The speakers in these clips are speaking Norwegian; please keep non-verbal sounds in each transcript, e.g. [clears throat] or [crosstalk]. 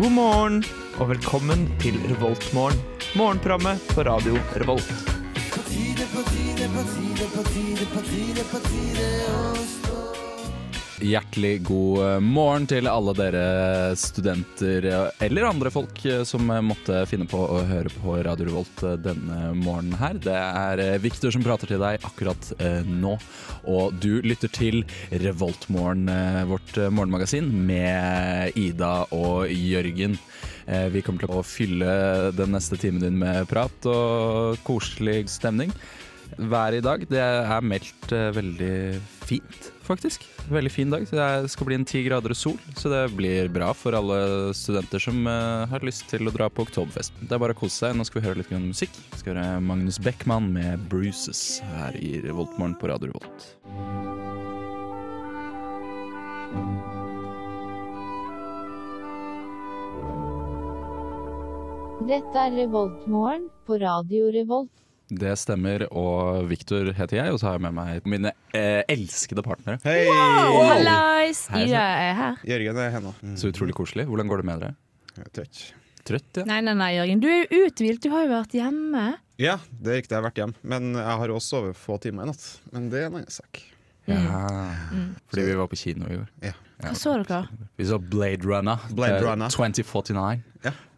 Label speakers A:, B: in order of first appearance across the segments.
A: God morgen og velkommen til Revoltmorgen. Morgenprogrammet på radio Revolt.
B: Hjertelig god eh, morgen til alle dere studenter eh, eller andre folk som eh, måtte finne på å høre på Radio Revolt eh, denne morgenen her. Det er Viktor som prater til deg akkurat eh, nå, og du lytter til Revoltmorgen, eh, vårt eh, morgenmagasin med Ida og Jørgen. Eh, Vi kommer til å fylle den neste timen din med prat og koselig stemning. Været i dag det er meldt eh, veldig fint, faktisk. Veldig fin dag. så Det skal bli en ti grader og sol, så det blir bra for alle studenter som eh, har lyst til å dra på oktoberfest. Det er bare å kose seg. Nå skal vi høre litt grann musikk. Vi skal høre Magnus Beckmann med 'Bruises' her i Revoltmorgen på Radio Revolt.
C: Dette er Revoltmorgen på Radio Revolt.
B: Det stemmer, og Victor heter jeg, og så har jeg med meg mine eh, elskede partnere.
D: Hei!
E: Hallais!
B: Hei,
E: Ida er her.
D: Jørgen er henne. Mm.
B: Så utrolig koselig. Hvordan går det med dere?
D: Jeg er Trøtt.
B: Trøtt, ja?
E: Nei, nei, nei, Jørgen. Du er jo uthvilt. Du har jo vært hjemme.
D: Ja, det er riktig. Jeg har vært hjem. Men jeg har også sovet få timer i natt. Men det er en annen sak.
B: ja. Fordi vi var på kino i går.
D: Ja.
E: Hva så dere?
B: Vi så Blade Runner.
D: Blade
B: eh,
D: Runner.
B: 2049.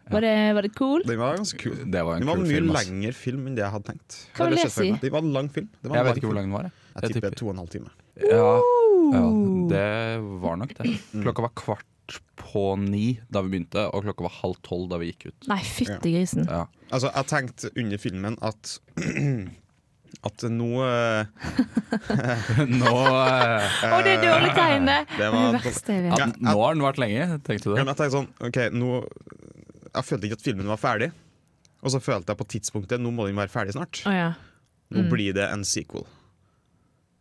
E: Var det, Eh, var det cool?
D: Den var ganske kul.
B: Det var en
D: Den var
B: kul
D: mye
B: film, ass.
D: lengre film enn det jeg hadde tenkt.
E: Hva vil
D: Det
E: jeg si?
D: Det var en lang film. Det var en
B: Jeg vet
D: lang
B: ikke hvor
D: film.
B: lang den var.
D: Jeg tipper to og en halv time.
B: ja, ja, det var nok det.
D: Mm.
B: Klokka var kvart på ni da vi begynte, og klokka var halv tolv da vi gikk ut.
E: Nei, fytti grisen.
B: Ja.
D: Altså, jeg tenkte under filmen at [clears throat] At nå eh,
B: Nå, eh,
E: Å, det er dårlig tegn! Det
D: Det
E: er
D: var
E: det verste jeg
B: ja,
E: vet.
D: Ja,
B: nå har den vært lenge, tenkte du
D: ja,
B: det?
D: men Jeg tenkte sånn OK, nå Jeg følte ikke at filmen var ferdig. Og så følte jeg på tidspunktet nå må den være ferdig snart.
E: Å ja.
D: Nå
E: Mm.
D: blir det en sequel.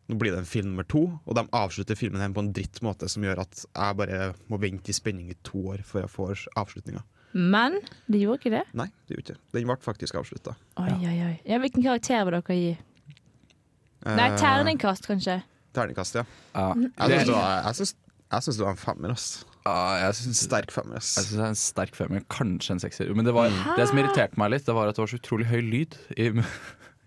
D: Nå blir det en film nummer to, og de avslutter filmen her på en dritt måte som gjør at jeg bare må vente i spenning i to år før jeg får avslutninga.
E: Men de gjorde ikke det.
D: Nei, det gjorde ikke det. Den ble faktisk avslutta.
E: Oi, oi, oi. Ja, hvilken karakter vil dere gi? Nei,
D: Eh,
E: terningkast, kanskje.
D: Terningkast, ja.
B: Ja.
D: Jeg syns
B: Det-
D: det, var- jeg syns- jeg syns det var en femmer, ass.
B: Ja, jeg syns
D: Sterk femmer, ass.
B: Jeg synes det er en sterk femmer, kanskje en sekser. Men det, var, det som irriterte meg litt, Det var at det var så utrolig høy lyd i,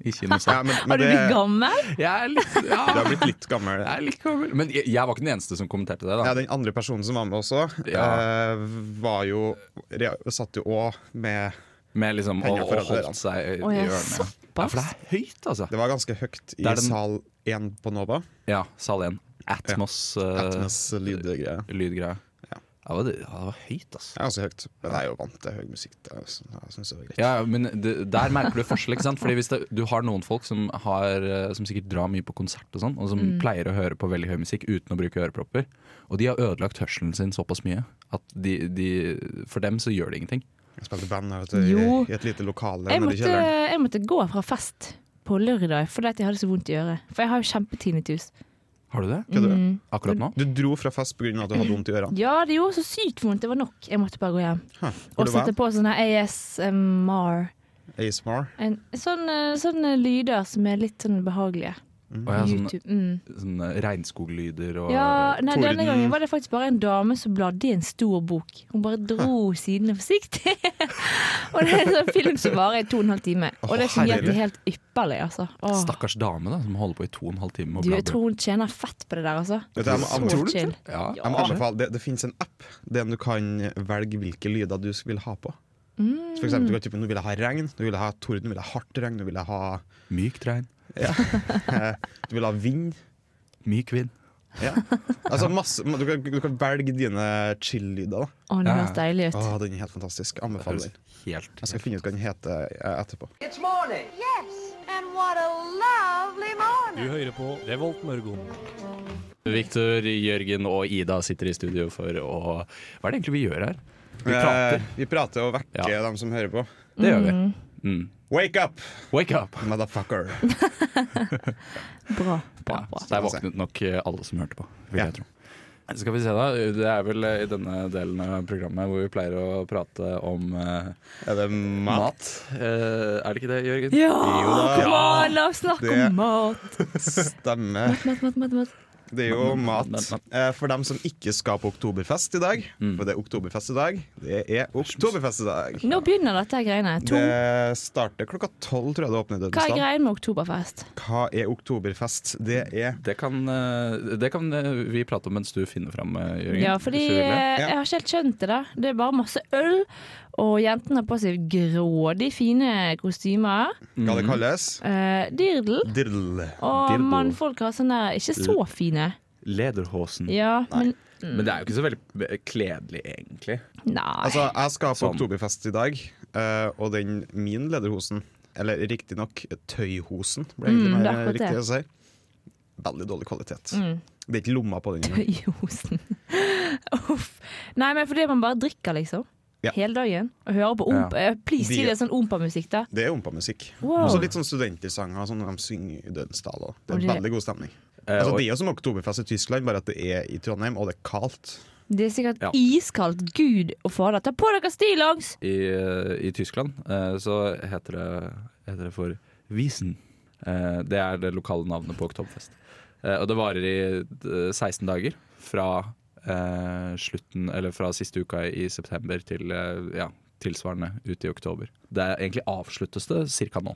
B: i
D: Ja,
B: kinosalen.
D: men, men
E: Har du
D: det,
E: blitt
D: det
E: gammel?
B: Jeg er litt, ja,
D: har blitt litt gammel.
B: jeg er litt gammel. Men jeg, jeg var ikke den eneste som kommenterte det. da
D: Ja, den andre personen som var med også,
B: Ja.
D: eh, var jo rea- Satt jo òg med
B: Med liksom å,
D: Henger
B: å
D: foran dørene.
B: holde seg i
E: Å ja,
B: ørene. Ja, for det
E: såpass.
B: er høyt, altså.
D: Det var ganske høyt i
B: Det er den-
D: sal én på Nova.
B: Ja, sal 1. Atmos, eh,
D: Atmos lydgreie.
B: lydgreie.
D: Ja.
B: Ja. det, ja, det var høyt, altså.
D: Det er ganske høyt, men jeg er jo vant til høy musikk. Det er, sånn- jeg synes det var greit.
B: Ja, men det, der merker du forskjell. ikke sant? Fordi hvis det, Du har noen folk som, har, eh, som sikkert drar mye på konsert, og sånn, og som
E: Mm.
B: pleier å høre på veldig høy musikk uten å bruke ørepropper. Og de har ødelagt hørselen sin såpass mye at de, de, for dem så gjør det ingenting.
D: Jeg spilte band her, vet du, i,
E: Jo.
D: i et lite lokale
E: Jeg
D: nede i
E: måtte,
D: kjelleren.
E: jeg måtte gå fra fest på lørdag fordi at jeg hadde så vondt i øret. For jeg har jo kjempetinitus.
B: Har du det?
D: Kødder du?
B: Akkurat nå?
D: Du dro fra fest pga. at du hadde vondt i ørene.
E: Ja, det gjorde så sykt vondt. Det var nok. Jeg måtte bare gå hjem.
D: Hæ,
E: Og
D: Hvor du var
E: sette på sånne ASMR.
D: ASMR?
E: En, sånne, sånne lyder som er litt sånn behagelige.
B: Og jeg har sånne,
E: YouTube. Mm.
B: sånne sånn, eh, regnskoglyder og
E: Ja, nei,
D: Torden.
E: denne gangen var det faktisk bare en dame som bladde i en stor bok. Hun bare dro sidene forsiktig. [laughs] og det er en sånn film som varer i to og en halv time. Og det fungerte
D: herregud.
E: helt ypperlig, altså. Åh,
B: Stakkars dame da, som holder på i to og en halv time. Og
E: du,
B: bla,
E: jeg
B: bla.
E: tror hun tjener fett på det der, altså.
D: Vet du, jeg må,
E: Så
D: anbefale-
E: chill.
B: Ja.
D: jeg må anbefale Det, det finnes en app der du kan velge hvilke lyder du vil ha på. Så for eksempel, du kan type, Nå vil jeg ha regn, nå vil jeg ha torden, nå vil jeg ha hardt regn, nå vil jeg ha,
B: Mykt regn,
D: du vil ha vind.
B: myk vind.
D: Ja. Altså masse, du, kan, du kan velge dine chill-lyder. da.
E: Å, det
B: Ja.
E: høres deilig ut.
D: Å, Den er helt fantastisk. Anbefaler den.
B: Helt
D: Jeg skal finne ut hva den heter eh, etterpå.
F: It's morning.
G: Yes, and what a lovely morning.
H: Du hører på Revolt Mørgon.
B: Victor, Jørgen og Ida sitter i studio for å Hva er det egentlig vi gjør her? Vi
D: Eh,
B: prater.
D: vi prater og vekker
B: Ja.
D: dem som hører på.
B: Det gjør vi.
E: mm.
B: Mm.
D: Wake up,
B: Wake up!
D: motherfucker!
B: Ja,
E: Bra. bra, bra.
B: så der våknet nok eh, alle som hørte på, vil
D: Ja.
B: jeg tro. Skal vi se, da. Det er vel eh, i denne delen av programmet hvor vi pleier å prate om eh,
D: Er det mat?
B: mat. Eh, er det ikke det, Jørgen?
E: Ja,
D: Jo da.
E: kom an, la oss snakke
D: Det-
E: om mat.
D: Stemme.
E: Mat, mat, mat, mat.
D: Det er jo
B: Men- men-
D: mat.
B: men- men-
D: Eh, For dem som ikke skal på oktoberfest i dag,
B: Mm.
D: for det er oktoberfest i dag, det er oktoberfest i dag.
E: Nå begynner dette greiene. To.
D: Det starter klokka tolv, tror jeg det åpner i
E: Hva er
D: Dødensdal.
E: greien med oktoberfest?
D: Hva er oktoberfest? Det er
B: Det kan, eh, det kan eh, vi prate om mens du finner fram, eh, Jørgen.
E: Ja, fordi
B: hvis du vil det.
E: eh, jeg har ikke helt skjønt det. da Det er bare masse øl, og jentene har på seg grådig fine
D: hva
E: kostymer.
B: Mhm.
D: det kalles.
E: Eh, dirdel.
D: Dirl.
E: Og
B: Dirdel.
E: mannfolk har sånne ikke så fine.
B: Lederhosen.
E: Ja, men
B: Men
E: Mm.
B: det er jo ikke så veldig kledelig, egentlig.
E: nei. [laughs]
D: Altså, jeg skal på
B: Sånn.
D: oktoberfest i dag, eh, og den min lederhosen, eller riktignok tøyhosen, ble egentlig
E: Mm, det er
D: mer
E: akkurat det.
D: riktig å si. Veldig dårlig kvalitet.
E: Mm.
D: Det er ikke lomma på den. engang.
E: I hosen. Uff. Nei, men fordi man bare drikker, liksom.
D: Ja.
E: Hele dagen. Og hører på omp. eh, Please, si
D: De-
E: det er sånn ompa-musikk, da.
D: Det er ompamusikk.
E: Wow.
B: Altså,
D: Også litt sånn studentersanger som de synger i Dødensdal. også. Det
E: Og
D: er
E: det-
D: veldig god stemning.
B: Eh,
D: Altså,
B: og-
D: det er jo som oktoberfest i Tyskland, bare at det er i Trondheim, og det er kaldt.
E: Det er sikkert
B: Ja.
E: iskaldt. Gud og fader, ta på dere stillongs!
B: i, i Tyskland eh, så heter det, heter det for Wiesen. Eh, det er det lokale navnet på Oktoberfest. Eh, og det varer i eh, 16 dager fra eh, slutten Eller fra siste uka i september til eh, ja, tilsvarende ut i oktober. Det er egentlig avsluttes det ca. nå.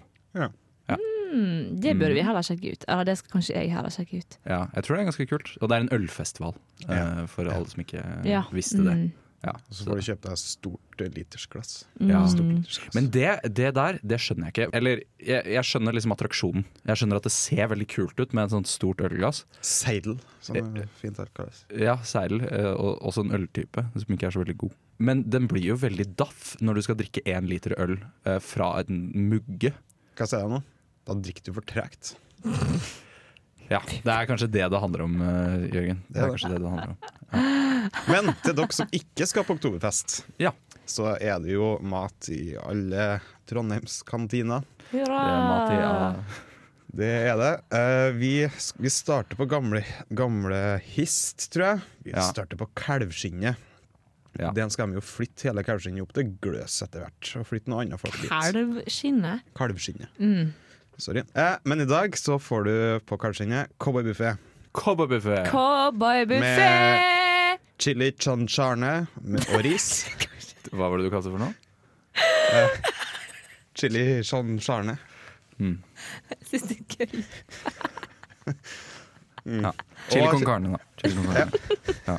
E: Mm, det burde vi heller sjekke ut. Eller det skal kanskje jeg heller sjekke ut.
B: Ja, jeg tror det er ganske kult. Og det er en ølfestival, eh, for alle som ikke
E: Ja.
B: visste det.
E: Mm.
B: Ja,
D: Og så får du kjøpe deg stort eh, litersglass.
B: ja.
D: Stort litersglass.
B: Men det, det der, det skjønner jeg ikke. Eller jeg, jeg skjønner liksom attraksjonen. Jeg skjønner at det ser veldig kult ut med et sånt stort ølglass.
D: Seidel, som
B: Eh,
D: det fint her kalles.
B: Ja, seil, eh, og også en øltype som ikke er så veldig god. Men den blir jo veldig daff når du skal drikke én liter øl eh, fra en mugge.
D: Hva sier jeg nå? Da drikker du for tregt.
B: Ja, Det er kanskje det det handler om, eh, Jørgen. Det
D: Ja,
B: er
D: det-
B: kanskje det det handler om.
D: Men til dere som ikke skal på oktoberfest,
B: Ja.
D: så er det jo mat i alle Trondheimskantiner.
E: Hurra!
B: Det er mat i, ja.
D: Det er det. Eh, vi, vi starter på gamle, gamle hist, tror jeg. Vi
B: Ja.
D: starter på kalvskinnet.
B: Ja.
D: Den skal vi jo flytte hele kalvskinnet opp til Gløs etter hvert. Og flytte noe annet folk dit.
E: Kalvskinnet.
D: Kalvskinnet.
E: Mm.
D: Sorry. Eh, men i dag så får du på kalvskinnet cowboybuffé.
B: Cowboybuffé.
E: Cowboybuffé!
D: Chili chancharne med- og ris.
B: Hva var det du kalte det for noe?
D: Chili chancharne.
E: Syns det er gøy.
B: Ja. Chili
D: Og-
B: con carne, da. Chili con carne. Ja.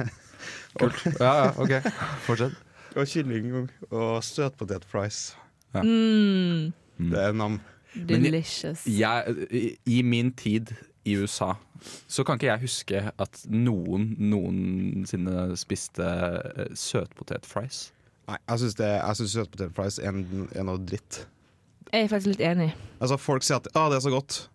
B: Kult. Ja, ja, OK. Fortsett.
D: Og kylling og søtpotet fries.
E: Mm.
D: Det er nam.
E: Delicious.
B: jeg, i- I min tid i USA så kan ikke jeg huske at noen noensinne spiste eh, søtpotetfries.
D: Nei, jeg syns det- jeg syns søtpotet fries er, en- er noe dritt.
E: Jeg er faktisk litt enig.
D: Altså, folk sier at ah, det er så godt.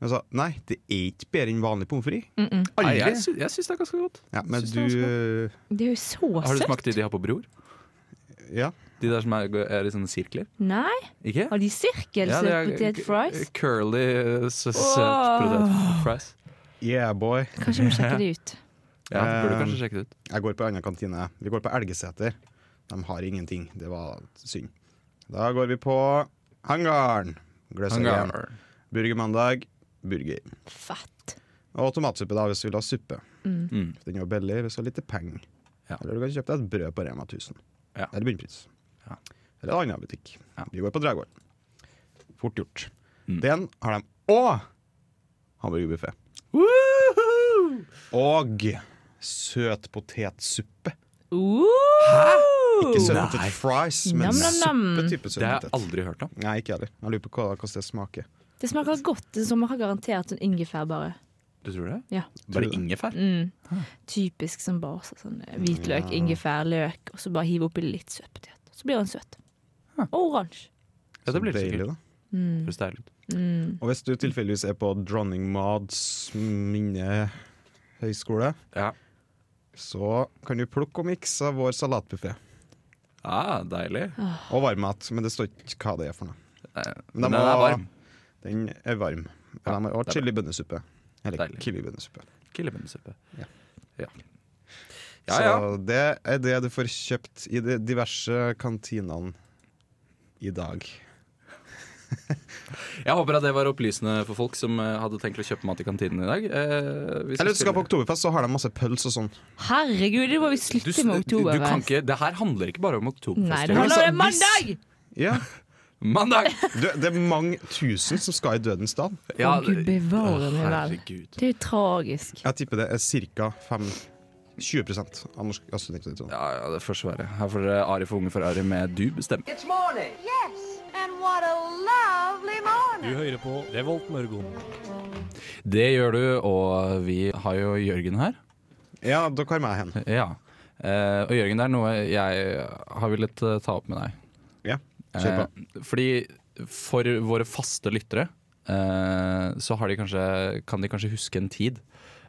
D: Men så, nei, det er ikke bedre enn vanlig pommes frites.
B: Nei, Jeg, sy- jeg syns det er ganske godt.
D: Ja, men
B: Syns det er
D: du
E: Det er jo så
B: Har du
E: søtt.
B: smakt de de har på Bror?
D: Ja.
B: De der som er, er i sånne sirkler?
E: Nei?
B: Ikke?
E: Har de
B: Ja, det er
E: sirkelsøtpotet
B: k-
E: fries?
B: Curly eh, sø- søtpotetfries.
D: Yeah, boy.
E: Kanskje vi må sjekke det ut.
B: Ja, burde
D: Eh,
B: kanskje sjekke det ut.
D: Jeg går på en annen kantine. Vi går på Elgeseter. De har ingenting. Det var synd. Da går vi på Hangaren. Gløshaugen.
B: Hangar.
D: Burgermandag. Burger.
E: Fett.
D: Og tomatsuppe, da, hvis du vil ha suppe.
B: Mm.
D: Den er jo billig hvis du har lite penger.
B: Ja.
D: Eller du kan kjøpe deg et brød på Rema 1000.
B: Ja.
D: Eller bunnpris.
B: Ja.
D: Eller en annen butikk.
B: Ja.
D: Vi går på Dragvoll. Fort gjort.
B: Mm.
D: Den har de òg hamburgerbuffé. Og søt potetsuppe. Ikke søt
E: Uh!
D: potet fries, men
E: Nam, nam, nam.
D: suppe type søt
B: Det har jeg
D: potet.
B: aldri hørt om.
D: Nei, ikke jeg heller. Jeg lurer på hva, hvordan det smaker.
E: Det smaker godt. Det smaker garantert sånn ingefær, bare.
B: Du tror det?
E: Ja.
B: Bare
D: Tror det.
B: ingefær?
E: Mm. Typisk som bare så- sånn hvitløk, ingefær, løk, og så bare hive oppi litt søtpotet. Så blir den søt.
B: Huh.
E: Og oransje.
B: Ja, det
D: Så
B: blir det
D: deilig,
B: sikkert.
D: da.
E: Mm.
B: Høres deilig ut.
E: Mm.
D: Og hvis du tilfeldigvis er på Dronning Mads minne høgskole,
B: Ja.
D: så kan du plukke og mikse vår salatbuffé.
B: Ah, deilig. Eh,
D: Og varmmat, men det står ikke hva det er for noe.
B: Men
D: Men
B: den
D: de
B: er
D: har-
B: varm.
D: Den er varm. Og
B: Ja,
D: de har
B: det er
D: også chili bønnesuppe. Eller
B: Deilig.
D: kiwi-bønnesuppe.
B: Killebønnesuppe.
D: Ja.
B: Ja. Ja, ja.
D: Så det er det du får kjøpt i de diverse kantinene i dag.
B: Jeg håper at det var opplysende for folk som eh, hadde tenkt å kjøpe mat i kantinen i dag. Eh, hvis
D: Eller hvis du skal på
B: skulle-
D: Oktoberfest, så har de masse pøls og sånn.
E: Herregud, det må vi
B: du,
E: slutte med
B: du, du kan
E: oktoberfest.
B: ikke, det her handler ikke bare om oktoberfest. Jonas.
E: Nei, det handler om
D: Altså,
E: mandag!
D: Ja.
E: [laughs]
B: Mandag!
D: Du, det er mange tusen som skal i dødens dal.
E: Å, Gud bevare meg vel.
B: herregud.
E: Det er jo tragisk.
D: Jeg tipper det er ca. 20 av norske studenter. tror jeg.
B: Ja, ja, det får så være. Her får dere Ari for unge for Ari med du bestemmer.
G: Yes, and what a lovely morning.
F: Du hører på Revolt Mørgon.
B: Det gjør du, og vi har jo Jørgen her.
D: Ja, da kommer jeg hen.
B: Ja. Eh, og Jørgen, det er noe jeg har villet eh, ta opp med deg.
D: Ja, kjør på.
B: Eh, fordi for våre faste lyttere eh, så har de kanskje, kan de kanskje huske en tid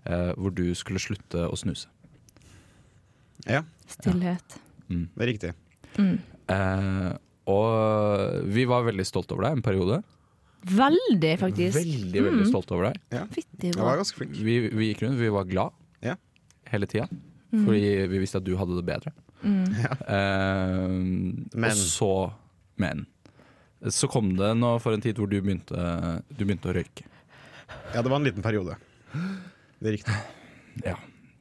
B: eh, hvor du skulle slutte å snuse.
D: Ja,
E: Stillhet.
D: det er riktig.
B: Eh, og vi var veldig stolte over deg en periode.
E: Veldig, faktisk.
B: Veldig, veldig stolte over deg.
E: Fytti
D: Jeg var
E: bra.
D: ganske flink.
B: Vi, vi gikk rundt, vi var glad
D: Ja.
B: hele tida. Fordi vi visste at du hadde det bedre. Eh,
D: Men.
B: Og så Men. Så kom det nå for en tid hvor du begynte, du begynte å røyke.
D: Ja, det var en liten periode. Det er riktig.
B: Ja.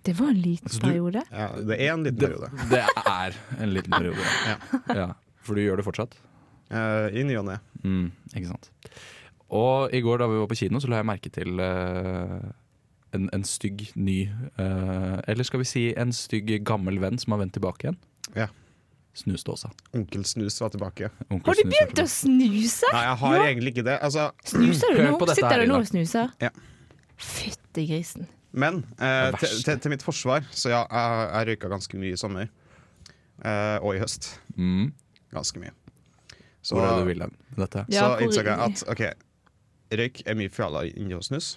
E: Det var en
B: Altså,
E: liten periode.
D: Ja, det er en liten
B: Det,
D: periode.
B: det er en liten periode. ja. For du gjør det fortsatt?
D: Eh, I ny og ne.
B: Mm, ikke sant. Og i går da vi var på kino, så la jeg merke til eh, en, en stygg ny eh, Eller skal vi si en stygg gammel venn som har vendt tilbake igjen.
D: Ja.
B: Snusdåsa.
D: Onkel Snus var tilbake.
B: Onkel
E: Har du
B: Snus er
E: begynt å snuse?
D: Nei, jeg har egentlig ikke det. Altså,
E: Snuser du
B: Hør på
E: nå?
B: dette her,
E: Sitter du nå
B: Ida.
E: og snuser?
D: Ja.
E: Fytti grisen.
D: men eh,
B: Det verste.
D: til, til, til mitt forsvar, så ja, jeg, jeg røyka ganske mye i sommer. Eh, og i høst.
B: tilbake. Mm.
D: Ganske mye. Så,
B: Hvor er det du vil hen? med Dette?
E: Ja, hvor-
D: så innså jeg at OK, røyk er mye fjaller inni å snus,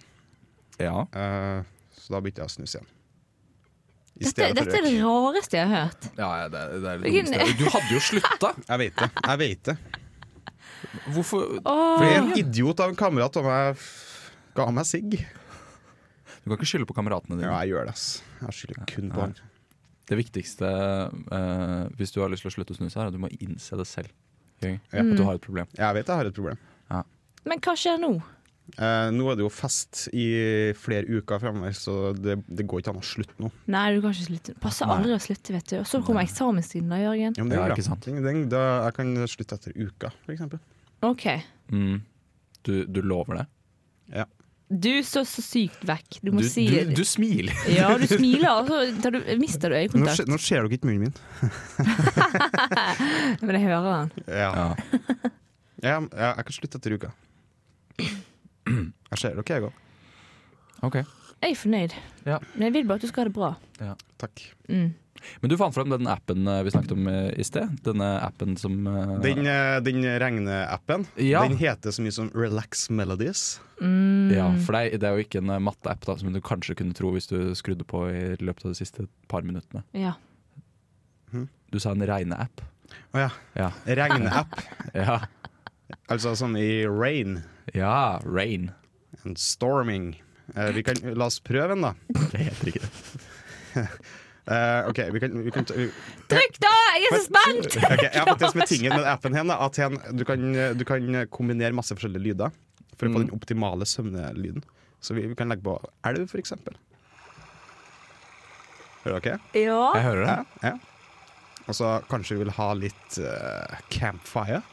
B: Ja.
D: eh, så da begynte jeg å snuse igjen. I
E: Dette,
D: stedet for
E: dette er det
D: røyk.
E: rareste jeg har hørt.
B: ja ja, det, det er det
E: Hvilken-
B: dummeste. Du hadde jo slutta!
D: Jeg vet det. Jeg vet det.
B: Hvorfor
E: Åh.
D: Fordi en idiot av en kamerat av meg f- ga meg sigg.
B: Du kan ikke skylde på kameratene dine.
D: Ja, jeg gjør det, ass. Jeg skylder kun på han.
B: Det viktigste eh, hvis du har lyst til å slutte å snuse, er at du må innse det selv. Jørgen.
D: Ja.
B: At du har et problem.
D: Jeg vet jeg har et problem.
E: Men hva skjer nå?
D: Eh, nå er det jo fest i flere uker fremover, så det, det går ikke an å slutte nå.
E: Nei, du kan ikke slutte. Passer
B: Nei.
E: aldri å slutte, vet du. Og så kommer eksamenstiden da, Jørgen.
D: Ja, men det
B: Ja,
D: er bra.
B: ikke sant.
D: Det- det- da, jeg kan slutte etter uka, for eksempel.
E: OK.
B: Mm. Du, du lover det?
E: Du så så sykt vekk. Du må
B: Du,
E: si
B: du, du smiler!
E: Ja, du smiler, og så tar du, mister du
D: Nå,
E: øyekontakt.
D: skje- nå ser dere ikke munnen min.
E: Men jeg hører den.
D: Ja.
B: Ja.
D: Ja, ja, jeg kan slutte etter [clears throat] uka. Jeg ser dere, jeg òg.
B: Ok.
E: Jeg er fornøyd.
B: Ja.
E: Men jeg vil bare at du skal ha det bra.
D: Takk.
E: Mm.
B: Men du fant fram den appen eh, vi snakket om eh, i sted. Denne appen som eh,
D: Den, eh, den regneappen,
B: Ja.
D: den heter så mye som Relax Melodies.
B: Ja, for det er, det er jo ikke en eh, matteapp da, som du kanskje kunne tro hvis du skrudde på i løpet av de siste par minuttene.
E: Ja.
B: Du sa en regneapp.
D: Å ja.
B: Ja.
D: Regneapp. [laughs]
B: Ja.
D: altså sånn i rain
B: ja, rain.
D: and storming. Eh, vi kan, la oss prøve den, da.
B: Det heter ikke det.
D: Eh, OK, vi kan, vi kan ta, vi,
E: Trykk, da! Jeg er så spent!
D: [laughs] Ok, jeg har faktisk betingen med appen her da, at hen, du, kan, du kan kombinere masse forskjellige lyder for å
B: Mm.
D: få den optimale søvnelyden. Så vi, vi kan legge på elv, for eksempel. Hører dere?
E: Ja.
B: Jeg hører det.
D: Ja. ja. Og så kanskje vi vil ha litt eh, campfire.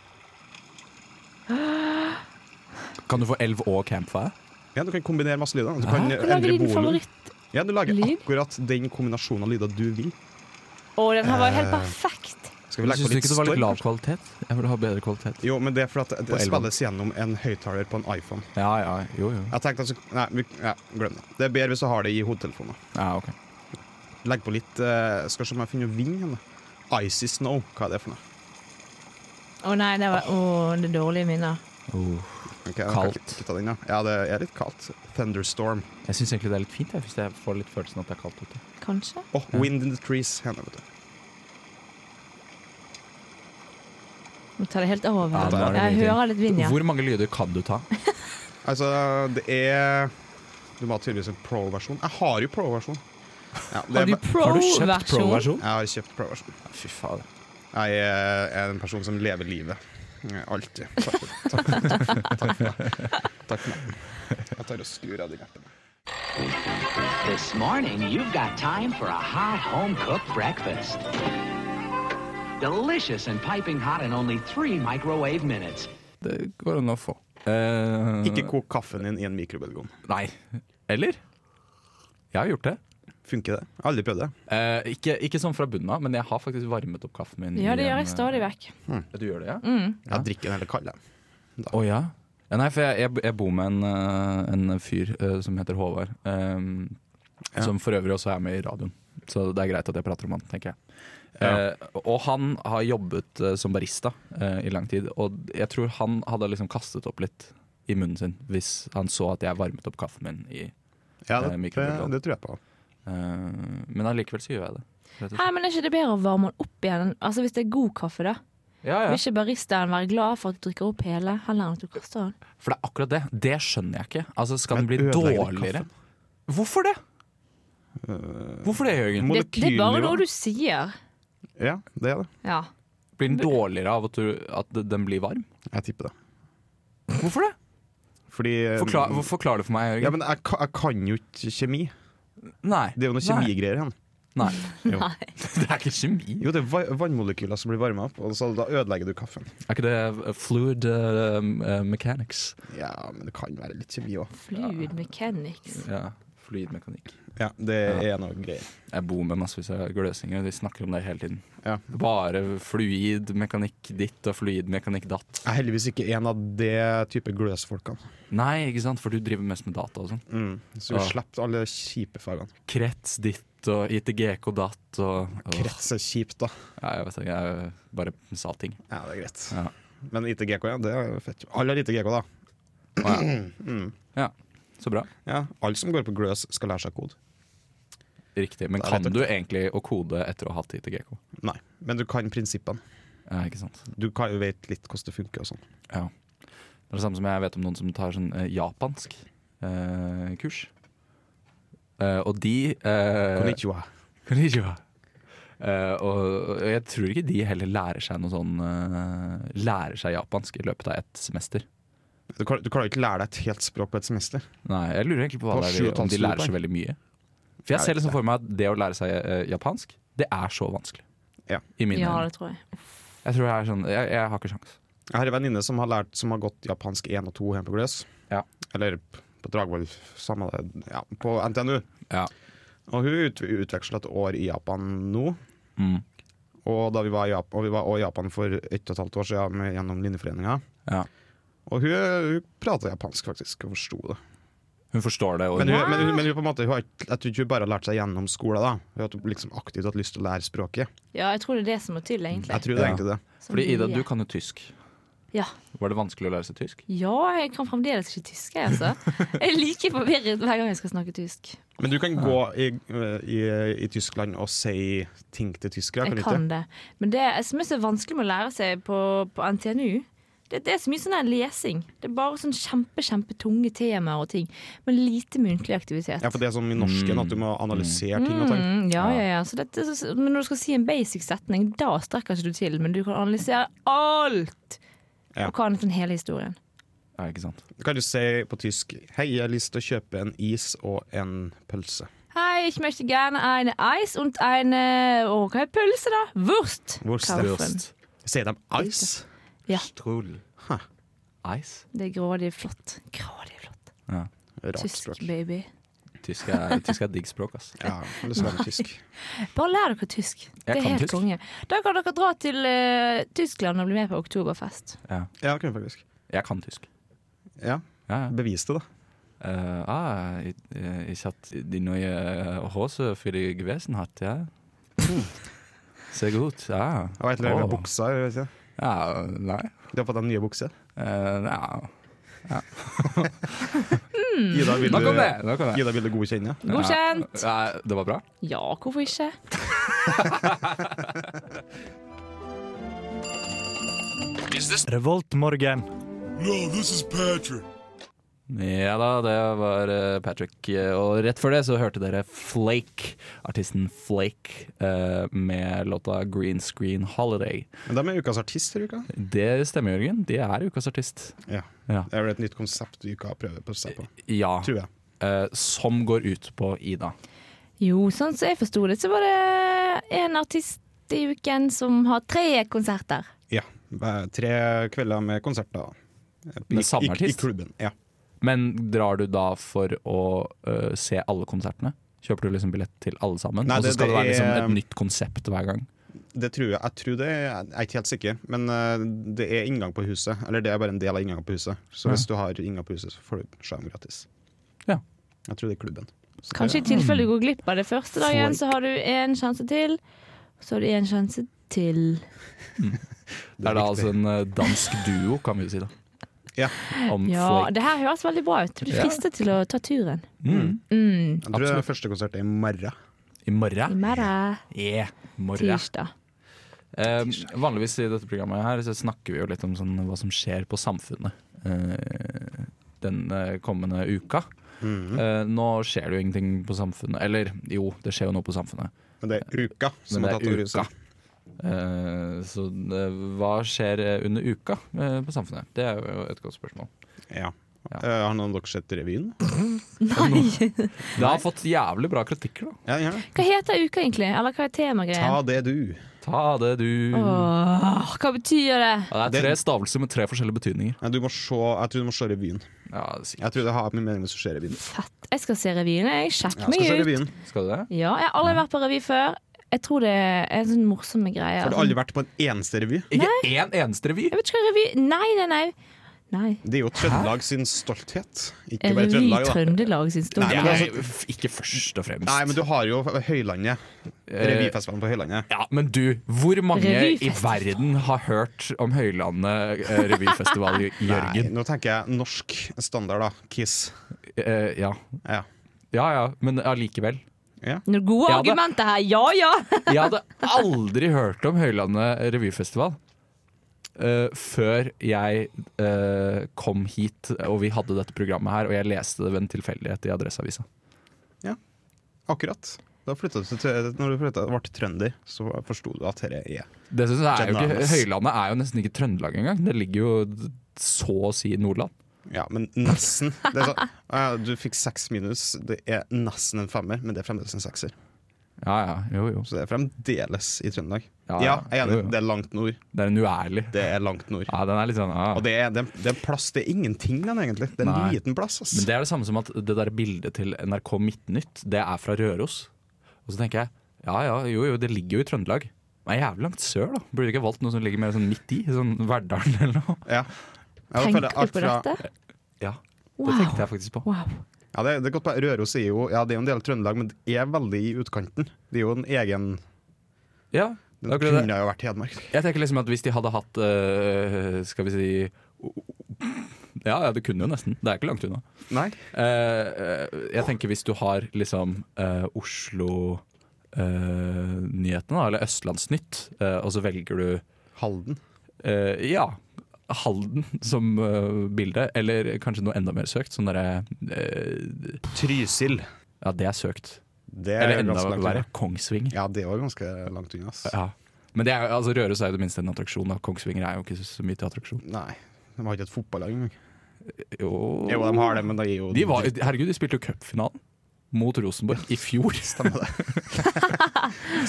B: Kan du få elv og campfire?
D: Ja, Du kan kombinere masse lyder. og Du
B: Hæ?
D: kan
E: Du
D: endre
E: lager din
D: volum.
E: favoritt.
D: Ja, du lager
E: lyd?
D: akkurat den kombinasjonen av lyder du vil.
E: Å, den her var jo helt perfekt.
D: Skal vi legge
B: Syns
D: på
B: du
D: litt
B: ikke det var litt
D: storm?
B: lav kvalitet? Jeg vil ha bedre kvalitet.
D: Jo, men det er fordi at
B: På
D: det
B: elven.
D: spilles gjennom en høyttaler på en iPhone.
B: Ja, ja, jo, jo.
D: Jeg tenkte altså, nei, vi, ja, Glem det. Det er bedre hvis du har det i hodetelefoner.
B: Ja, ok.
D: Legg på litt eh, Skal se om jeg finner vind igjen. da. Icy snow, hva er det for noe?
E: Å nei, det var Å, det er dårlige minner.
B: Oh.
D: Ok, jeg kan
B: Kaldt.
D: ikke- ikke ta den, da. Ja, det er litt kaldt. Thunderstorm.
B: Jeg syns egentlig det er litt fint, jeg, hvis jeg får litt følelsen at det er kaldt ute.
E: Kanskje?
D: Oh,
B: Ja.
D: Wind in the trees. Henne, vet du.
E: Nå tar det helt over.
B: Ja,
D: da er
B: det
E: jeg
B: mye
E: hører litt vind, ja.
B: Hvor mange lyder kan du ta?
D: Altså, det er Du må ha tydeligvis en pro-versjon. Jeg har jo pro-versjon. Ja, det er
E: Har du
D: ba-
B: Har du kjøpt
E: pro-versjon?
B: pro-versjon?
D: jeg har kjøpt pro-versjon.
B: Fy faen.
D: Jeg er en person som lever livet. Ja, Alltid. Takk for, takk, for- takk, for- takk for meg. Jeg tar og skrur av de hjertene.
H: This morning, you've got time for a hot home cooked breakfast. Delicious and piping hot in only three microwave minutes.
B: Det går an å få. Eh,
D: Ikke kok kaffen din i en mikrobølgeovn.
B: Nei. Eller? Jeg har gjort det.
D: Funker det? Jeg har Aldri prøvd det.
B: Eh, ikke, ikke sånn fra bunnen av, men jeg har faktisk varmet opp kaffen min.
E: Ja,
B: i
E: det gjør
B: en,
E: jeg stadig vekk.
B: eh, Du gjør det, ja? Ja.
D: Jeg drikker den heller kald. jeg.
B: Å ja? ja nei, for jeg, jeg, jeg bor med en, eh, en fyr eh, som heter Håvard. ehm,
D: Ja.
B: Som for øvrig også er med i radioen. Så det er greit at jeg prater om han, tenker jeg.
D: Ja.
B: Eh, og han har jobbet eh, som barista eh, i lang tid, og jeg tror han hadde liksom kastet opp litt i munnen sin hvis han så at jeg varmet opp kaffen min i Eh,
D: Ja, det, det,
B: mikrobølgeovn.
D: det tror jeg på.
B: eh, Men allikevel så gjør jeg det. rett og slett.
E: Hei, men er ikke det bedre å varme den opp igjen? Altså Hvis det er god kaffe, da.
B: Ja, ja.
E: Vil ikke baristaen være glad for at du drikker opp hele, heller enn at du kaster den?
B: For det er akkurat det. Det skjønner jeg ikke. Altså, Skal den
D: Men
B: bli
D: ødelegger det
B: dårligere? Hvorfor det? Hvorfor det, Jørgen?
E: Det, det er bare
D: Molekylnivå.
E: noe du sier.
D: Ja, det er det.
E: Ja.
B: Blir den dårligere av at, du, at den blir varm?
D: Jeg tipper det.
B: Hvorfor det?
D: Fordi eh,
B: Forklar, forklar det for meg, Jørgen.
D: Um, Ja, men jeg, ka- jeg kan jo ikke kjemi.
B: nei. [laughs]
D: Det er jo noe kjemigreier igjen.
B: Nei.
D: Jo.
B: Det er ikke kjemi.
D: Jo, det er va- vannmolekyler som blir varma opp, og så da ødelegger du kaffen.
B: Er ikke
D: uh,
B: det fluid eh,
D: um,
B: eh, mechanics?
D: Ja, men det kan være litt kjemi òg.
E: Fluid mechanics.
B: Ja, fluid mekanikk.
D: Ja, det er noe greier.
B: Jeg bor med massevis av gløsinger, og de snakker om det hele tiden.
D: Ja.
B: Bare fluid mekanikk ditt og fluid mekanikk datt.
D: Jeg er heldigvis ikke en av det type gløsfolkene.
B: Nei, ikke sant, for du driver mest med data og sånn.
D: Så vi
B: Ja.
D: slipper alle kjipe fagene.
B: Krets ditt og ITGK datt og Åh,
D: Krets er kjipt, da.
B: ja, jeg vet ikke, jeg bare sa ting.
D: Ja, det er greit.
B: Ja.
D: Men ITGK, ja. Det er jo fett. Alle har ITGK, da.
B: Ja, så bra.
D: Ja, Alle som går på gløs, skal lære seg kode.
B: Riktig. Men
D: Det er
B: kan
D: rett og
B: du egentlig å kode etter å ha hatt ITGK?
D: Nei, men du kan prinsippene.
B: Ja, ikke sant.
D: Du kan jo vet litt hvordan det funker og sånn.
B: Ja. Det er det samme som jeg vet om noen som tar sånn eh, japansk eh, kurs. Eh, og de eh,
D: Konnichiwa.
B: [laughs] Konnichiwa. Eh, og, og jeg tror ikke de heller lærer seg noe sånn eh, Lærer seg japansk i løpet av ett semester.
D: Du kan du kan jo ikke lære deg et helt språk på et semester.
B: Nei, jeg lurer egentlig på hva
D: På
B: det er,
D: sju og
B: de-
D: et halvt
B: om de lærer seg
D: studiepoeng.
B: veldig mye. For jeg
D: Jeg
B: ser
D: vet
B: liksom for meg at det å lære seg eh, japansk, det er så vanskelig.
D: Ja.
B: I mine
E: Ja,
B: øyne.
E: det tror jeg.
B: Jeg tror jeg er sånn Jeg, jeg har ikke sjans.
D: Jeg har en venninne som har lært Som har gått japansk 1 og 2 hjemme på Gløs.
B: Ja.
D: Eller på Dragvoll, samme det, ja, på NTNU.
B: Ja.
D: Og hun ut, utveksla et år i Japan nå.
B: Mm.
D: Og da vi var i Japan, og vi var også i Japan for ett og et halvt år siden med, gjennom Linjeforeninga.
B: Ja.
D: Og hun, hun prata japansk, faktisk, og forsto det.
B: Hun forstår det. Og
D: Men, hun, men, hun, men hun, på en måte, hun har, ikke- jeg tror ikke hun bare har lært seg gjennom skolen. Da. Hun har liksom aktivt hatt lyst til å lære språket.
E: Ja, jeg tror det er det som må til, egentlig.
D: Jeg tror det er
B: Ja.
D: egentlig det.
E: Som
B: Fordi Ida,
E: mye.
B: du kan jo tysk.
E: Ja.
B: Var det vanskelig å lære seg tysk?
E: ja, jeg kan fremdeles ikke tysk, jeg, altså. Jeg er like forvirret hver gang jeg skal snakke tysk.
D: Men du kan gå i, i, i Tyskland og si ting til tyskere, kan du
E: Jeg
D: ikke?
E: kan det. Men det jeg synes det er vanskelig med å lære seg på, på NTNU, det, det er så mye sånn her lesing. Det er bare sånn kjempe, kjempe tunge temaer og ting. Men lite muntlig aktivitet.
D: Ja, for det er som i norsken, at du
B: Mm.
D: må analysere ting og ting.
E: Mm, ja, ja, ja. Så dette, så, men når du skal si en basic setning, da strekker ikke du til. Men du kan analysere alt!
D: Ja.
E: Og kan nesten hele historien.
B: Ja, ikke sant?
D: Du kan jo si på tysk 'Hei, jeg har lyst til å kjøpe en is og en pølse'.
E: Hei, ich möchte gerne eine Eis und eine eh, Å, hva er pølse, da? Wurst!
D: Wurst.
E: Kaffen.
D: Sier de 'ice'?
E: Ja.
B: Strull.
D: Hæ.
B: Ice?
E: Det er grådig flott. Grådig flott.
D: Rart
E: Tysk,
D: språk.
E: baby.
B: Tysk er, [laughs] tysk er digg språk, ass.
D: Ja, jeg har lyst til å lære tysk.
E: Bare lær dere tysk. Det
B: Jeg
E: er
B: kan
E: helt
B: tysk.
E: konge. Da kan dere dra til eh, Tyskland og bli med på oktoberfest.
D: Ja, det kan jeg faktisk.
B: Jeg kan tysk.
D: Ja,
B: Ja, ja.
D: Bevis det, da.
B: Eh, ah, ich, eh, ich hat die neue Hose für die gewesen hat, ja. Hmm. [laughs] Sehr gut, ja.
D: Jeg vet ikke,
B: Åh.
D: buksa, jeg vet ikke.
B: Ja, nei.
D: Du har fått deg nye bukser.
B: Eh, ja.
E: Mm.
D: Ida, vil
B: Nok om
D: du,
B: det! Nok om det.
D: Ida, vil du godkjenne?
E: Godkjent!
B: Ja, ja, det var bra?
E: Ja, hvorfor ikke?
A: Revoltmorgen.
B: Ja da, det var eh, Patrick. Eh, Og rett før det så hørte dere Flake, artisten Flake, eh, med låta 'Green Screen Holiday'.
D: Men de er ukas artister i uka.
B: Det stemmer, Jørgen. De er ukas artist.
D: Ja.
B: Ja.
D: Det er vel et nytt konsept uka prøver på seg på,
B: ja.
D: tror jeg.
B: eh, som går ut på Ida.
E: Jo, sånn som jeg forsto det, så var det en artist i uken som har tre konserter.
D: Ja. hver- Tre kvelder med konserter.
B: Med
D: I-
B: samme
D: i-
B: artist?
D: I klubben, ja.
B: Men drar du da for å eh, se alle konsertene? Kjøper du liksom billett til alle sammen?
D: Nei,
B: Og så
D: det-
B: skal det,
D: det
B: være liksom
D: er-
B: et nytt konsept hver gang?
D: Det tror jeg. Jeg tror det er, jeg er ikke helt sikker, men eh, det er inngang på huset. Eller det er bare en del av inngangen på huset. Så hvis du har inngang på huset, så får du skjerm gratis.
B: Ja.
D: Jeg tror det er klubben. Så det-
E: Kanskje i tilfelle du går glipp av det første dagen, så har du én sjanse til. Så har du én sjanse til.
B: Det er da
D: riktig.
B: altså en eh, dansk duo, kan vi jo si, da.
D: Ja.
B: Om
E: Ja,
B: Flake.
E: det her høres veldig bra ut. Du blir
B: Ja.
E: fristet til å ta turen.
B: Mm.
E: Mm.
D: Jeg tror det første konsert er i morgen.
B: I
E: I
B: morgen.
E: morgen,
B: Yeah, morgen.
E: Ah, tirsdag.
B: Eh, vanligvis i dette programmet her så snakker vi jo litt om sånn, hva som skjer på samfunnet eh, den eh, kommende uka. Eh, nå skjer det jo ingenting på samfunnet. Eller jo, det skjer jo noe på samfunnet.
D: Men det er uka som
B: Men
D: har
B: det
D: tatt
B: er
D: over
B: uka.
D: huset.
B: Eh, så eh, hva skjer eh, under uka eh, på samfunnet? Det er jo et godt spørsmål.
D: Ja.
B: Ja.
D: Eh, har noen av dere sett revyen?
E: Nei!
B: Det har fått jævlig bra kritikker, da.
D: Ja, den gjør det.
E: Hva heter uka egentlig? Eller hva er temagreien?
D: Ta det, du.
B: Ta det, du.
E: Åh, hva betyr det?
B: Ja, det er tre stavelser med tre forskjellige betydninger.
D: Nei, du må se, jeg tror du må se revyen.
B: Ja, sikkert.
D: Jeg tror det har min mening med å se revyen.
E: Fett. Jeg skal se revyen. Jeg
D: Ja,
E: Skjerp
D: jeg skal se
E: meg ut.
D: revyen.
B: Skal du det?
E: Ja, jeg har aldri vært på revy før. Jeg tror det er en sånn morsomme greie.
D: Har du aldri vært på en eneste revy?
B: Ikke én eneste revy!
E: Jeg vet ikke hva revy Nei, nei, nei. Nei.
D: Det er jo Trøndelag sin stolthet. Ikke bare
E: Revy
D: Trøndelag, da.
E: Trøndelag sin
D: Nei,
E: store
D: men
E: greie.
D: altså-
B: Nei, f- ikke først og fremst.
D: Nei, men du har jo Høylandet.
B: Eh,
D: Revyfestivalen på Høylandet.
B: Ja, men du, hvor mange i
E: Revyfestival.
B: verden har hørt om Høylandet eh, revyfestival, [laughs] Jø-
D: Nei,
B: Jørgen?
D: nå tenker jeg norsk standard, da. Kiss.
B: Eh, ja.
D: Ja.
B: ja ja, men allikevel.
E: Noen gode
B: Ja, det-
E: argumenter her. Ja, ja!
B: Jeg hadde aldri hørt om Høylandet revyfestival eh, før jeg eh, kom hit og vi hadde dette programmet her, og jeg leste det ved en tilfeldighet i Adresseavisa.
D: Akkurat. Da flyttet du til, når du flyttet, ble trønder, så forsto du at dette er
B: Det synes jeg er jo ikke,
D: Genialt.
B: Høylandet er jo nesten ikke Trøndelag engang. Det ligger jo så å si i Nordland.
D: Ja, men nesten. Det er sånn, ja, du fikk seks minus. Det er nesten en femmer, men det er fremdeles en sekser.
B: Ja ja, jo jo.
D: Så det er fremdeles i Trøndelag.
B: Ja,
D: Ja, jeg er
B: jo, jo.
D: enig. Det er langt nord.
B: Det er en uærlig.
D: Det er langt nord.
B: Ja, den er litt sånn ah.
D: Og det er, det, er- det er en plass, det er ingenting den egentlig. Det er en
B: Nei.
D: liten plass. Ass.
B: Men det er det samme som at det der bildet til NRK Midtnytt, det er fra Røros. Og så tenker jeg, ja ja, jo jo, det ligger jo i Trøndelag. Men jævlig langt sør, da. Burde ikke valgt noe som ligger mer sånn midt i? Sånn Verdalen [laughs] eller noe?
D: ja. Jeg
E: Tenker
D: føler
E: du
D: alt
E: på
D: fra-
E: dette?
B: Ja, det
E: Wow.
B: tenkte jeg faktisk på.
E: wow.
D: Ja, det, det er godt på Røros er jo Ja, det er jo en del av Trøndelag, men det er veldig i utkanten. Det er jo en egen
B: Ja, det
D: Den
B: er akkurat det.
D: kunne jo vært Hedmark.
B: Jeg tenker liksom at hvis de hadde hatt, øh, skal vi si ja, ja, det kunne jo nesten. Det er ikke langt unna.
D: Nei.
B: Eh, eh, jeg tenker hvis du har liksom eh, Oslo eh, Nyhetene, da, eller Østlandsnytt, eh, og så velger du
D: Halden.
B: eh, Ja, Halden som eh, bilde, eller kanskje noe enda mer søkt. Sånn derre eh,
D: Trysil.
B: Ja, det er søkt.
D: Det er
B: Eller enda
D: ganske langt
B: verre.
D: unna.
B: Kongsvinger.
D: Ja, det er jo ganske langt unna. Ass.
B: Ja. Men det er, jo- altså, Røros er jo det minste en attraksjon. Da. Kongsvinger er jo ikke så mye til attraksjon.
D: Nei. De har ikke et fotballag engang.
B: Jo,
D: Jo, de har det, men det er jo
B: de var, herregud, de spilte jo cupfinalen mot Rosenborg i fjor. [laughs]
D: Stemmer det.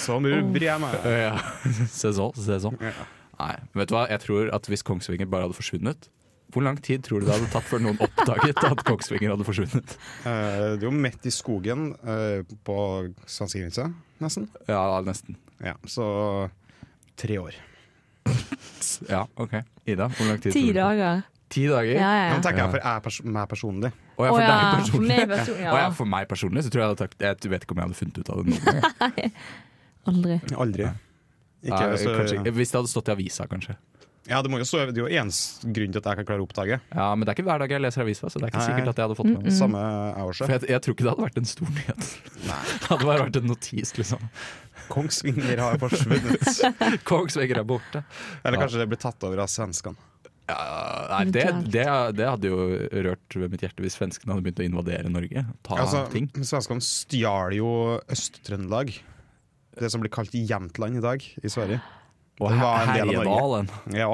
D: Som rubber jeg meg.
B: Ja. Se sånn, se sånn.
D: Ja.
B: Nei, vet du hva? Jeg tror at hvis Kongsvinger bare hadde forsvunnet Hvor lang tid tror du det hadde tatt før noen oppdaget at Kongsvinger hadde forsvunnet?
D: Eh, det er jo midt i skogen eh, på svenskegrensa, nesten.
B: Ja, nesten.
D: Ja, så tre år.
B: Ja, ok. Ida, hvor lang tid
E: Ti
B: tror du?
E: dager.
B: Ti dager?
E: Ja, ja.
D: Nå tenker jeg for jeg pers meg personlig.
B: Å ja, for
E: Å ja,
B: deg
E: for
B: personlig.
E: meg person- ja.
B: Å ja, for meg personlig så tror jeg jeg hadde tatt Jeg vet ikke om jeg hadde funnet ut av det noen gang.
E: Aldri.
D: Aldri. Ikke,
B: Nei,
D: så,
B: kanskje- Hvis det hadde stått i avisa, kanskje.
D: ja, det, må jo stå, det er jo ens grunn til at jeg kan klare å oppdage.
B: Ja, Men det er ikke hver dag jeg leser avisa, så det er ikke
D: Nei. Mm.
B: sikkert at jeg hadde fått
E: Mm.
B: med meg det.
D: Samme jeg også.
B: For jeg, jeg tror ikke det hadde vært en stor nyhet. [laughs] Det hadde bare vært en notis, liksom.
D: Kongsvinger har forsvunnet. [laughs]
B: Kongsvinger er borte.
D: Eller kanskje det blir tatt over av svenskene.
B: Ja, nei, det, det, det hadde jo rørt ved mitt hjerte hvis svenskene hadde begynt å invadere Norge. Ta
D: Altså,
B: ting.
D: Svenskene stjal jo Øst-Trøndelag. Det som blir kalt Jämtland i dag, i Sverige.
B: Og
D: det var en del av Norge.
B: Herjedalen.
D: Ja,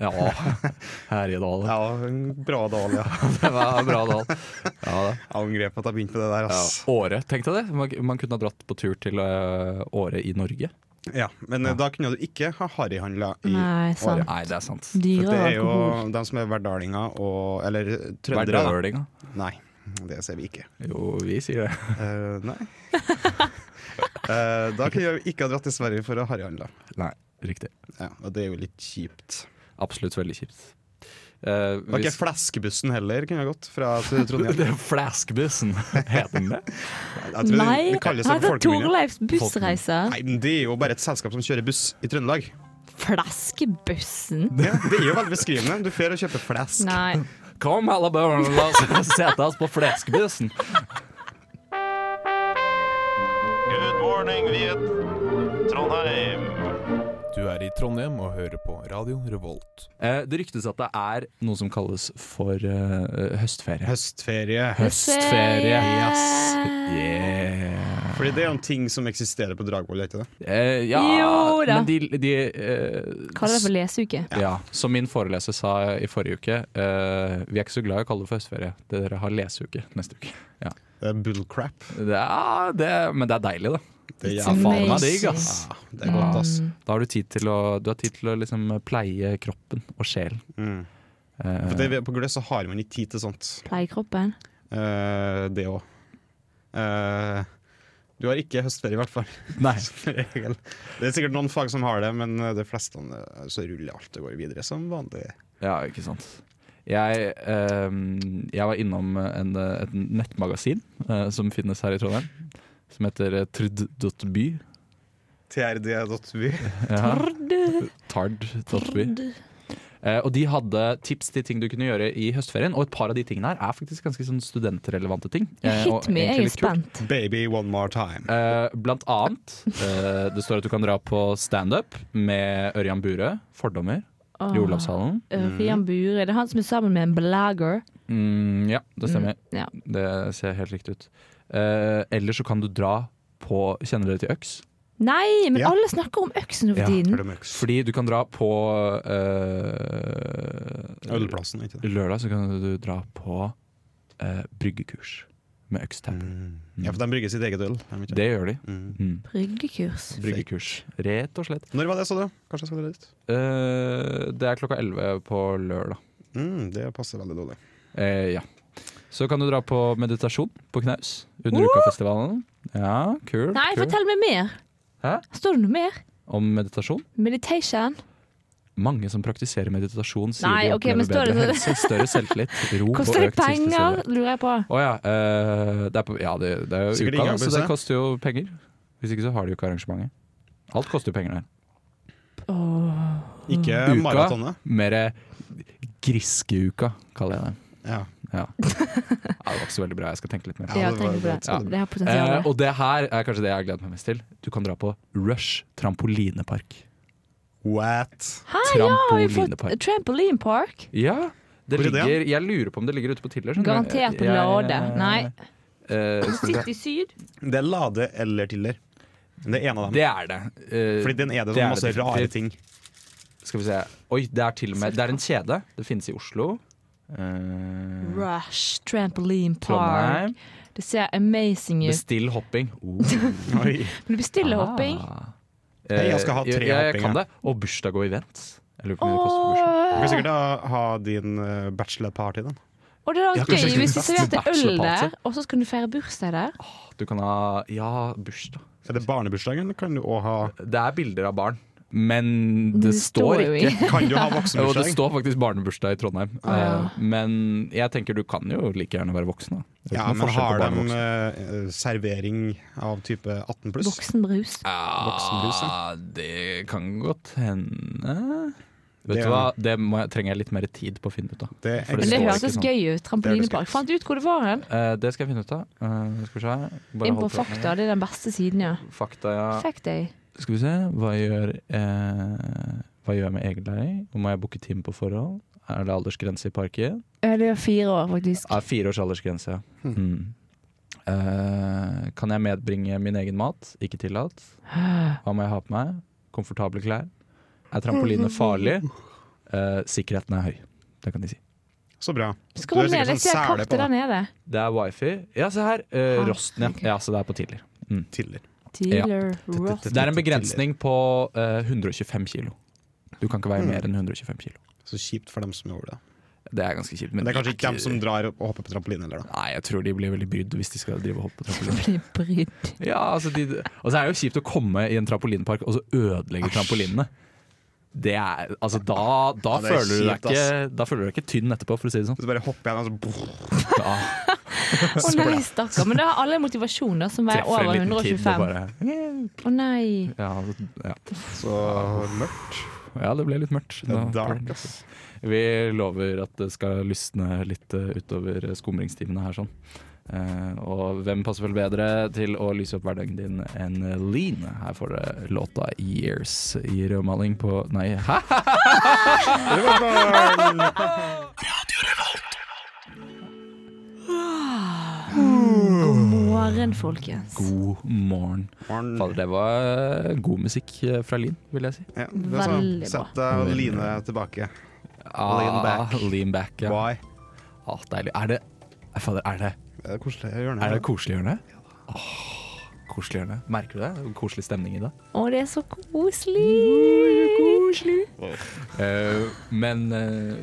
B: Ja,
D: [laughs]
B: Herjedalen.
D: ja en bra dal, ja.
B: [laughs] Det var en bra dal. Ja, da.
D: Jeg angrer på at jeg begynte med det der.
B: Ja.
D: ass.
B: Åre, tenk deg det. Man, man kunne ha dratt på tur til øh, Åre i Norge.
D: Ja, men eh, da kunne du ikke ha harryhandla i
E: Nei, sant.
D: Åre.
B: Nei, det er sant.
D: For
E: Dyrere
D: det er jo
E: alkohol.
D: de som er verdalinger og Eller
B: Hva er
D: trøndere. da.
B: drøvelinga?
D: Nei, det ser vi ikke.
B: Jo, vi sier det. [laughs]
D: Eh, nei. [laughs] Eh, da kunne jeg ikke ha dratt til Sverige for å harryhandle.
B: Nei, riktig.
D: Ja, og det er jo litt kjipt.
B: Absolutt veldig kjipt. Eh,
D: Det var
B: hvis-
D: ikke Fleskebussen heller, kunne jeg gått fra til
B: [laughs] Det [laughs]
D: Trondheim.
B: er Flaskbussen, heter den det?
D: Jeg tror det-
E: Nei,
D: det kalles
E: han
D: en
E: heter
D: folkeminne.
E: Torleifs bussreiser.
D: Nei, men Det er jo bare et selskap som kjører buss i Trøndelag.
E: Flaskebussen.
D: Ja, det er jo veldig beskrivende. Du får å kjøpe flesk.
E: Nei.
B: Kom, alle barn, la oss [laughs] sette oss på Flaskbussen.
I: Good morning, Viet Trondheim.
F: Du er i Trondheim og hører på Radio Revolt.
B: Eh, det ryktes at det er noe som kalles for eh, høstferie.
D: Høstferie.
B: Høstferie.
E: Yes.
B: Yeah.
D: Fordi det er jo en ting som eksisterer på Dragvoll, er ikke det?
B: Eh, ja,
E: Jo da.
B: men de, de eh,
E: Kaller det for leseuke.
B: Ja, Som min foreleser sa i forrige uke, eh, vi er ikke så glad i å kalle det for høstferie. Dere har leseuke neste uke. Ja.
D: Det er bullcrap.
B: Det er, det, men det er deilig, da.
D: Det er
E: It's
D: jævla
B: Faen meg
E: amazing.
B: digg, ass.
D: Ja, det er godt, ass.
E: Um,
B: Da har du tid til å, du har tid til å liksom pleie kroppen og sjelen.
D: Mm.
B: Eh,
D: For det, vi- på Gløs så har man ikke tid til sånt.
E: Pleier kroppen.
D: Eh, det òg. du har ikke høstferie, i hvert fall.
B: nei.
D: [laughs] Som regel. Det er sikkert noen fag som har det, men de fleste eh, så ruller alt og går videre som vanlig.
B: Ja, ikke sant. Jeg, eh, jeg var innom en, et nettmagasin eh, som finnes her i Trondheim, som heter eh, trd.by.
D: TRD.by.
B: Ja, Tard.by. Eh, og de hadde tips til ting du kunne gjøre i høstferien, og et par av de tingene her er faktisk ganske sånn studentrelevante ting. eh, og
E: Hit me,
B: egentlig
E: jeg er
B: litt kult.
E: spent.
D: Baby one more time.
B: Eh, blant annet, eh, det står at du kan dra på standup med Ørjan Burøe, Fordommer,
E: Ah.
B: i Olavshallen.
D: Mm.
E: Ørjan øh, Bure. Det er han som er sammen med en blagger.
B: Mm, ja, det stemmer.
E: Ja.
B: Det ser helt riktig ut. Eh, eller så kan du dra på Kjenner dere til øks?
E: Nei, men
D: Ja.
E: alle snakker om øksen nå
B: Ja,
E: for tiden.
D: Hører du møks?
B: Fordi du kan dra på eh,
D: Ølplassen, ikke det?
B: Lørdag så kan du dra på eh, bryggekurs med økstapper.
D: Mm. Ja, for de brygger sitt eget øl. er de ikke?
B: Mm. Det gjør de.
D: Mm.
B: Mm.
E: Bryggekurs.
B: Bryggekurs, rett og slett.
D: Når var det, sa du? Kanskje jeg skal dra dit?
B: Eh, det er klokka 11 på lørdag.
D: Mm, det passer veldig dårlig.
B: Eh, ja. Så kan du dra på meditasjon på knaus under ukafestivalen. Ja, kul.
E: Nei,
B: kul.
E: fortell meg mer.
B: Hæ?
E: Står det noe mer?
B: Om meditasjon.
E: Meditation?
B: Mange som praktiserer meditasjon, sier
E: Nei,
B: de
E: ok, men
B: opplever
E: står det
B: bedre
E: så-
B: helse, større selvtillit, ro og
E: Koster det
B: økt
E: penger,
B: tilfredshet.
E: lurer jeg på.
B: Å ja. eh, det er på, ja, det, det er jo uka, da, så det
D: Sikkert inngangsbillett.
B: koster jo penger. Hvis ikke så har de jo ikke arrangementet. Alt koster jo penger der.
D: Ikke
B: Uka.
D: maratonet.
B: Mer eh, griskeuka, kaller jeg det.
D: Ja.
B: Ja. ja, det var ikke så veldig bra. Jeg skal tenke litt mer.
E: Ja,
D: det var-
E: tenk på det.
D: det var-
E: Det har
B: Eh,
E: potensial.
B: og det her er kanskje det jeg har gledet meg mest til. Du kan dra på Rush trampolinepark.
D: What?
E: Hæ, Ah, ja, har vi fått
B: trampolinepark.
E: Trampoline Park?
B: Ja, det
D: Hvor er det?
B: ligger, jeg lurer på om det ligger ute på Tiller. skjønner du.
E: Garantert på
B: Jeg-
E: Lade. Nei.
B: Eh,
E: City Syd?
D: Det er Lade eller Tiller. Det er en av dem.
B: det er det. Eh,
D: Fordi den er det
B: det er
D: sånn masse
B: det
D: rare
B: definitivt.
D: ting.
B: Skal vi se. Oi, det er til og med Det er en kjede. Det finnes i Oslo. Eh,
E: Rush Trampoline Park.
B: Trondheim.
E: Det ser amazing ut.
B: Bestill hopping.
E: [laughs]
B: Oh.
D: Oi.
E: Men du bestiller hopping.
B: Ah.
D: Hei, jeg skal ha
B: Eh,
D: tre
B: jeg, jeg kan
D: hoppinger.
B: det. Og bursdag og event. Jeg lurer på om det koster på bursdag.
D: Du
E: Åh,
D: kan sikkert ha, ha din eh, bachelor-party, da.
E: Og det
B: Ja,
E: er
B: kanskje
E: gøy
B: ikke
E: hvis de
B: best
E: serverte øl
B: bachelorparty.
E: der, og så skal du feire bursdag der.
B: Du kan ha Ja, bursdag.
D: Er det barnebursdagen? Kan du òg ha
B: Det er bilder av barn, men det
E: Det
B: står
E: står jo
B: ikke.
D: Kan du ha
B: [laughs] Jo, det
D: voksenbursdag?
B: står faktisk barnebursdag i Trondheim,
E: Ah.
B: Eh, men jeg tenker du kan jo like gjerne være voksen. Da. Det er
D: Ja,
B: ikke noe
D: men
B: forskjell på
D: har
B: barn og
D: de
B: voksen.
D: eh, servering av type 18 pluss?
E: Voksenbrus.
D: Voksenbrus,
B: Ja,
D: ja.
B: det kan godt hende. Vet
D: Det-
B: du hva, det må jeg, trenger jeg litt mer tid på å finne ut av.
D: Det er
B: For det
E: Men det
B: står
E: hørtes
B: ikke sånn.
E: gøy ut. Trampolinepark. Fant du ut hvor det var hen?
B: Eh, det skal jeg finne ut av. Eh, skal vi se. Bare
E: Inn på
B: hold på-
E: Fakta. Det er den beste siden, ja.
B: Fakta, ja.
E: Fact Day.
B: Skal vi se. Hva gjør, eh, hva gjør jeg med egenlæring? Og Må jeg booke time på forhånd? Eh, Er det aldersgrense i parken?
J: Ja, det er fire år, faktisk.
B: Ja, fire års aldersgrense, ja.
D: Hm.
B: Mm. Eh, kan jeg medbringe min egen mat? Ikke tillatt.
E: Ah.
B: Hva må jeg ha på meg? Komfortable klær. Er trampoline farlig? Eh, sikkerheten er høy. Det kan de si. sånn.
D: Så bra.
E: Skroll
D: sikkert
E: ned, jeg
D: sånn
E: ser
D: sele på
E: kartet der nede.
B: Det er wifi. Ja, se her. Eh,
E: Ah,
B: rosten, ja.
E: ok.
B: ja. Så det er på tidligere.
D: Tiller.
E: Dealer Roth.
B: Det er en begrensning på eh, 125 kilo. Du kan
D: Mm.
B: ikke veie mer enn 125 kilo.
D: Så kjipt for dem som gjorde det.
B: Det er ganske kjipt. Men
D: Men det er kanskje ikke dem som drar og hopper på trampoline heller, da.
B: Nei, jeg tror de blir veldig brydd hvis de skal drive og hoppe på trampoline.
E: Blir brydd.
B: [laughs] Ja, altså de, Og så er det jo kjipt å komme i en trampolinpark og så ødelegge trampolinene. Det er, altså da, da,
D: Ja, det er
B: føler du deg
D: kjipt,
B: ikke, da føler du deg ikke tynn etterpå, for å si det sånn.
D: Så bare hopper altså, jeg, og så
B: [laughs] Da
E: Å nei, stakkar. Men da har alle motivasjon da, som veier
B: treffer en
E: over
B: liten kid og
E: 125. Å
B: bare
E: nei.
B: ja, altså, ja.
D: Så mørkt.
B: ja, det ble litt mørkt.
D: Det
B: Ah. Nå-
D: er dark, altså. ass.
B: Vi lover at det skal lysne litt eh, utover skumringstimene her sånn. Eh, og hvem passer vel bedre til å lyse opp hverdagen din enn Lean? Her får dere låta 'Years' i rødmaling på Nei, hæ?
E: Morgen, folkens.
B: God morgen. Fader, det var eh, god musikk fra Lyn, vil jeg si.
D: Ja, det er sånn.
E: Veldig bra.
D: Sett deg og line deg tilbake.
B: Ah,
D: back.
B: Lean back, ja.
D: Why?
B: Ah, deilig. Er det Nei, Fader, er det,
D: Det er koselig å gjøre
B: er det
D: det.
B: koselig hjørne? Åh, koselig hjørne. Merker du det? Koselig stemning i det.
E: Å, det er så koselig.
B: Eh, men eh,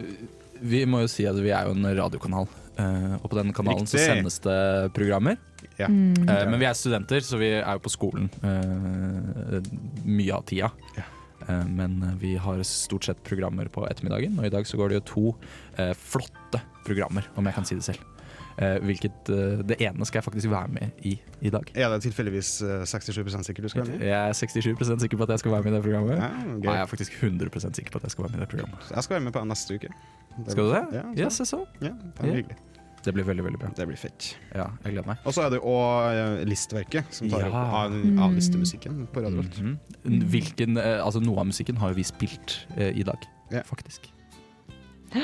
B: vi må jo si at vi er jo en radiokanal. eh, og på den kanalen så
D: Riktig.
B: sendes det programmer.
D: Ja.
B: Eh, men vi er studenter, så vi er jo på skolen eh, mye av tida.
D: Ja.
B: Eh, men vi har stort sett programmer på ettermiddagen, og i dag så går det jo to eh, flotte programmer, om jeg kan si det selv. Eh, hvilket eh, Det ene skal jeg faktisk være med i i dag.
D: Er det tilfeldigvis eh, 67 sikkert du skal være med?
B: Jeg er 67 sikker på at jeg skal være med i det programmet.
D: Ja,
B: Nei, jeg
D: gøy.
B: er faktisk 100 sikker på at jeg skal være med i det programmet.
D: Jeg skal være med på den neste uke. Det
B: Skal du det?
D: Ja,
B: Ja, se så.
D: ja, det blir
B: Ja.
D: hyggelig.
B: Det blir veldig, veldig bra.
D: Det blir fett.
B: Ja, jeg gleder meg.
D: Og så er det jo også Listverket, som tar
B: Ja.
D: opp av, av listemusikken på Radio Volt.
B: Mhm. Hvilken, eh, altså Noe av musikken har jo vi spilt eh, i dag,
D: Ja.
B: faktisk. [gasps]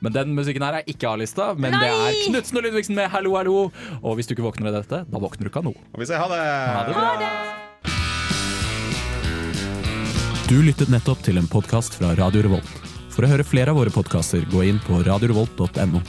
B: Men den musikken her er ikke A-lista, men det er Knutsen og Ludvigsen med 'Hallo, hallo'. Og hvis du ikke våkner av dette, da våkner du ikke av noe.
D: Og vi sier ha det!
B: Mm. Ha det bra.
F: Du lyttet nettopp til en podkast fra Radio Revolt. For å høre flere av våre podkaster, gå inn på radiorevolt.no.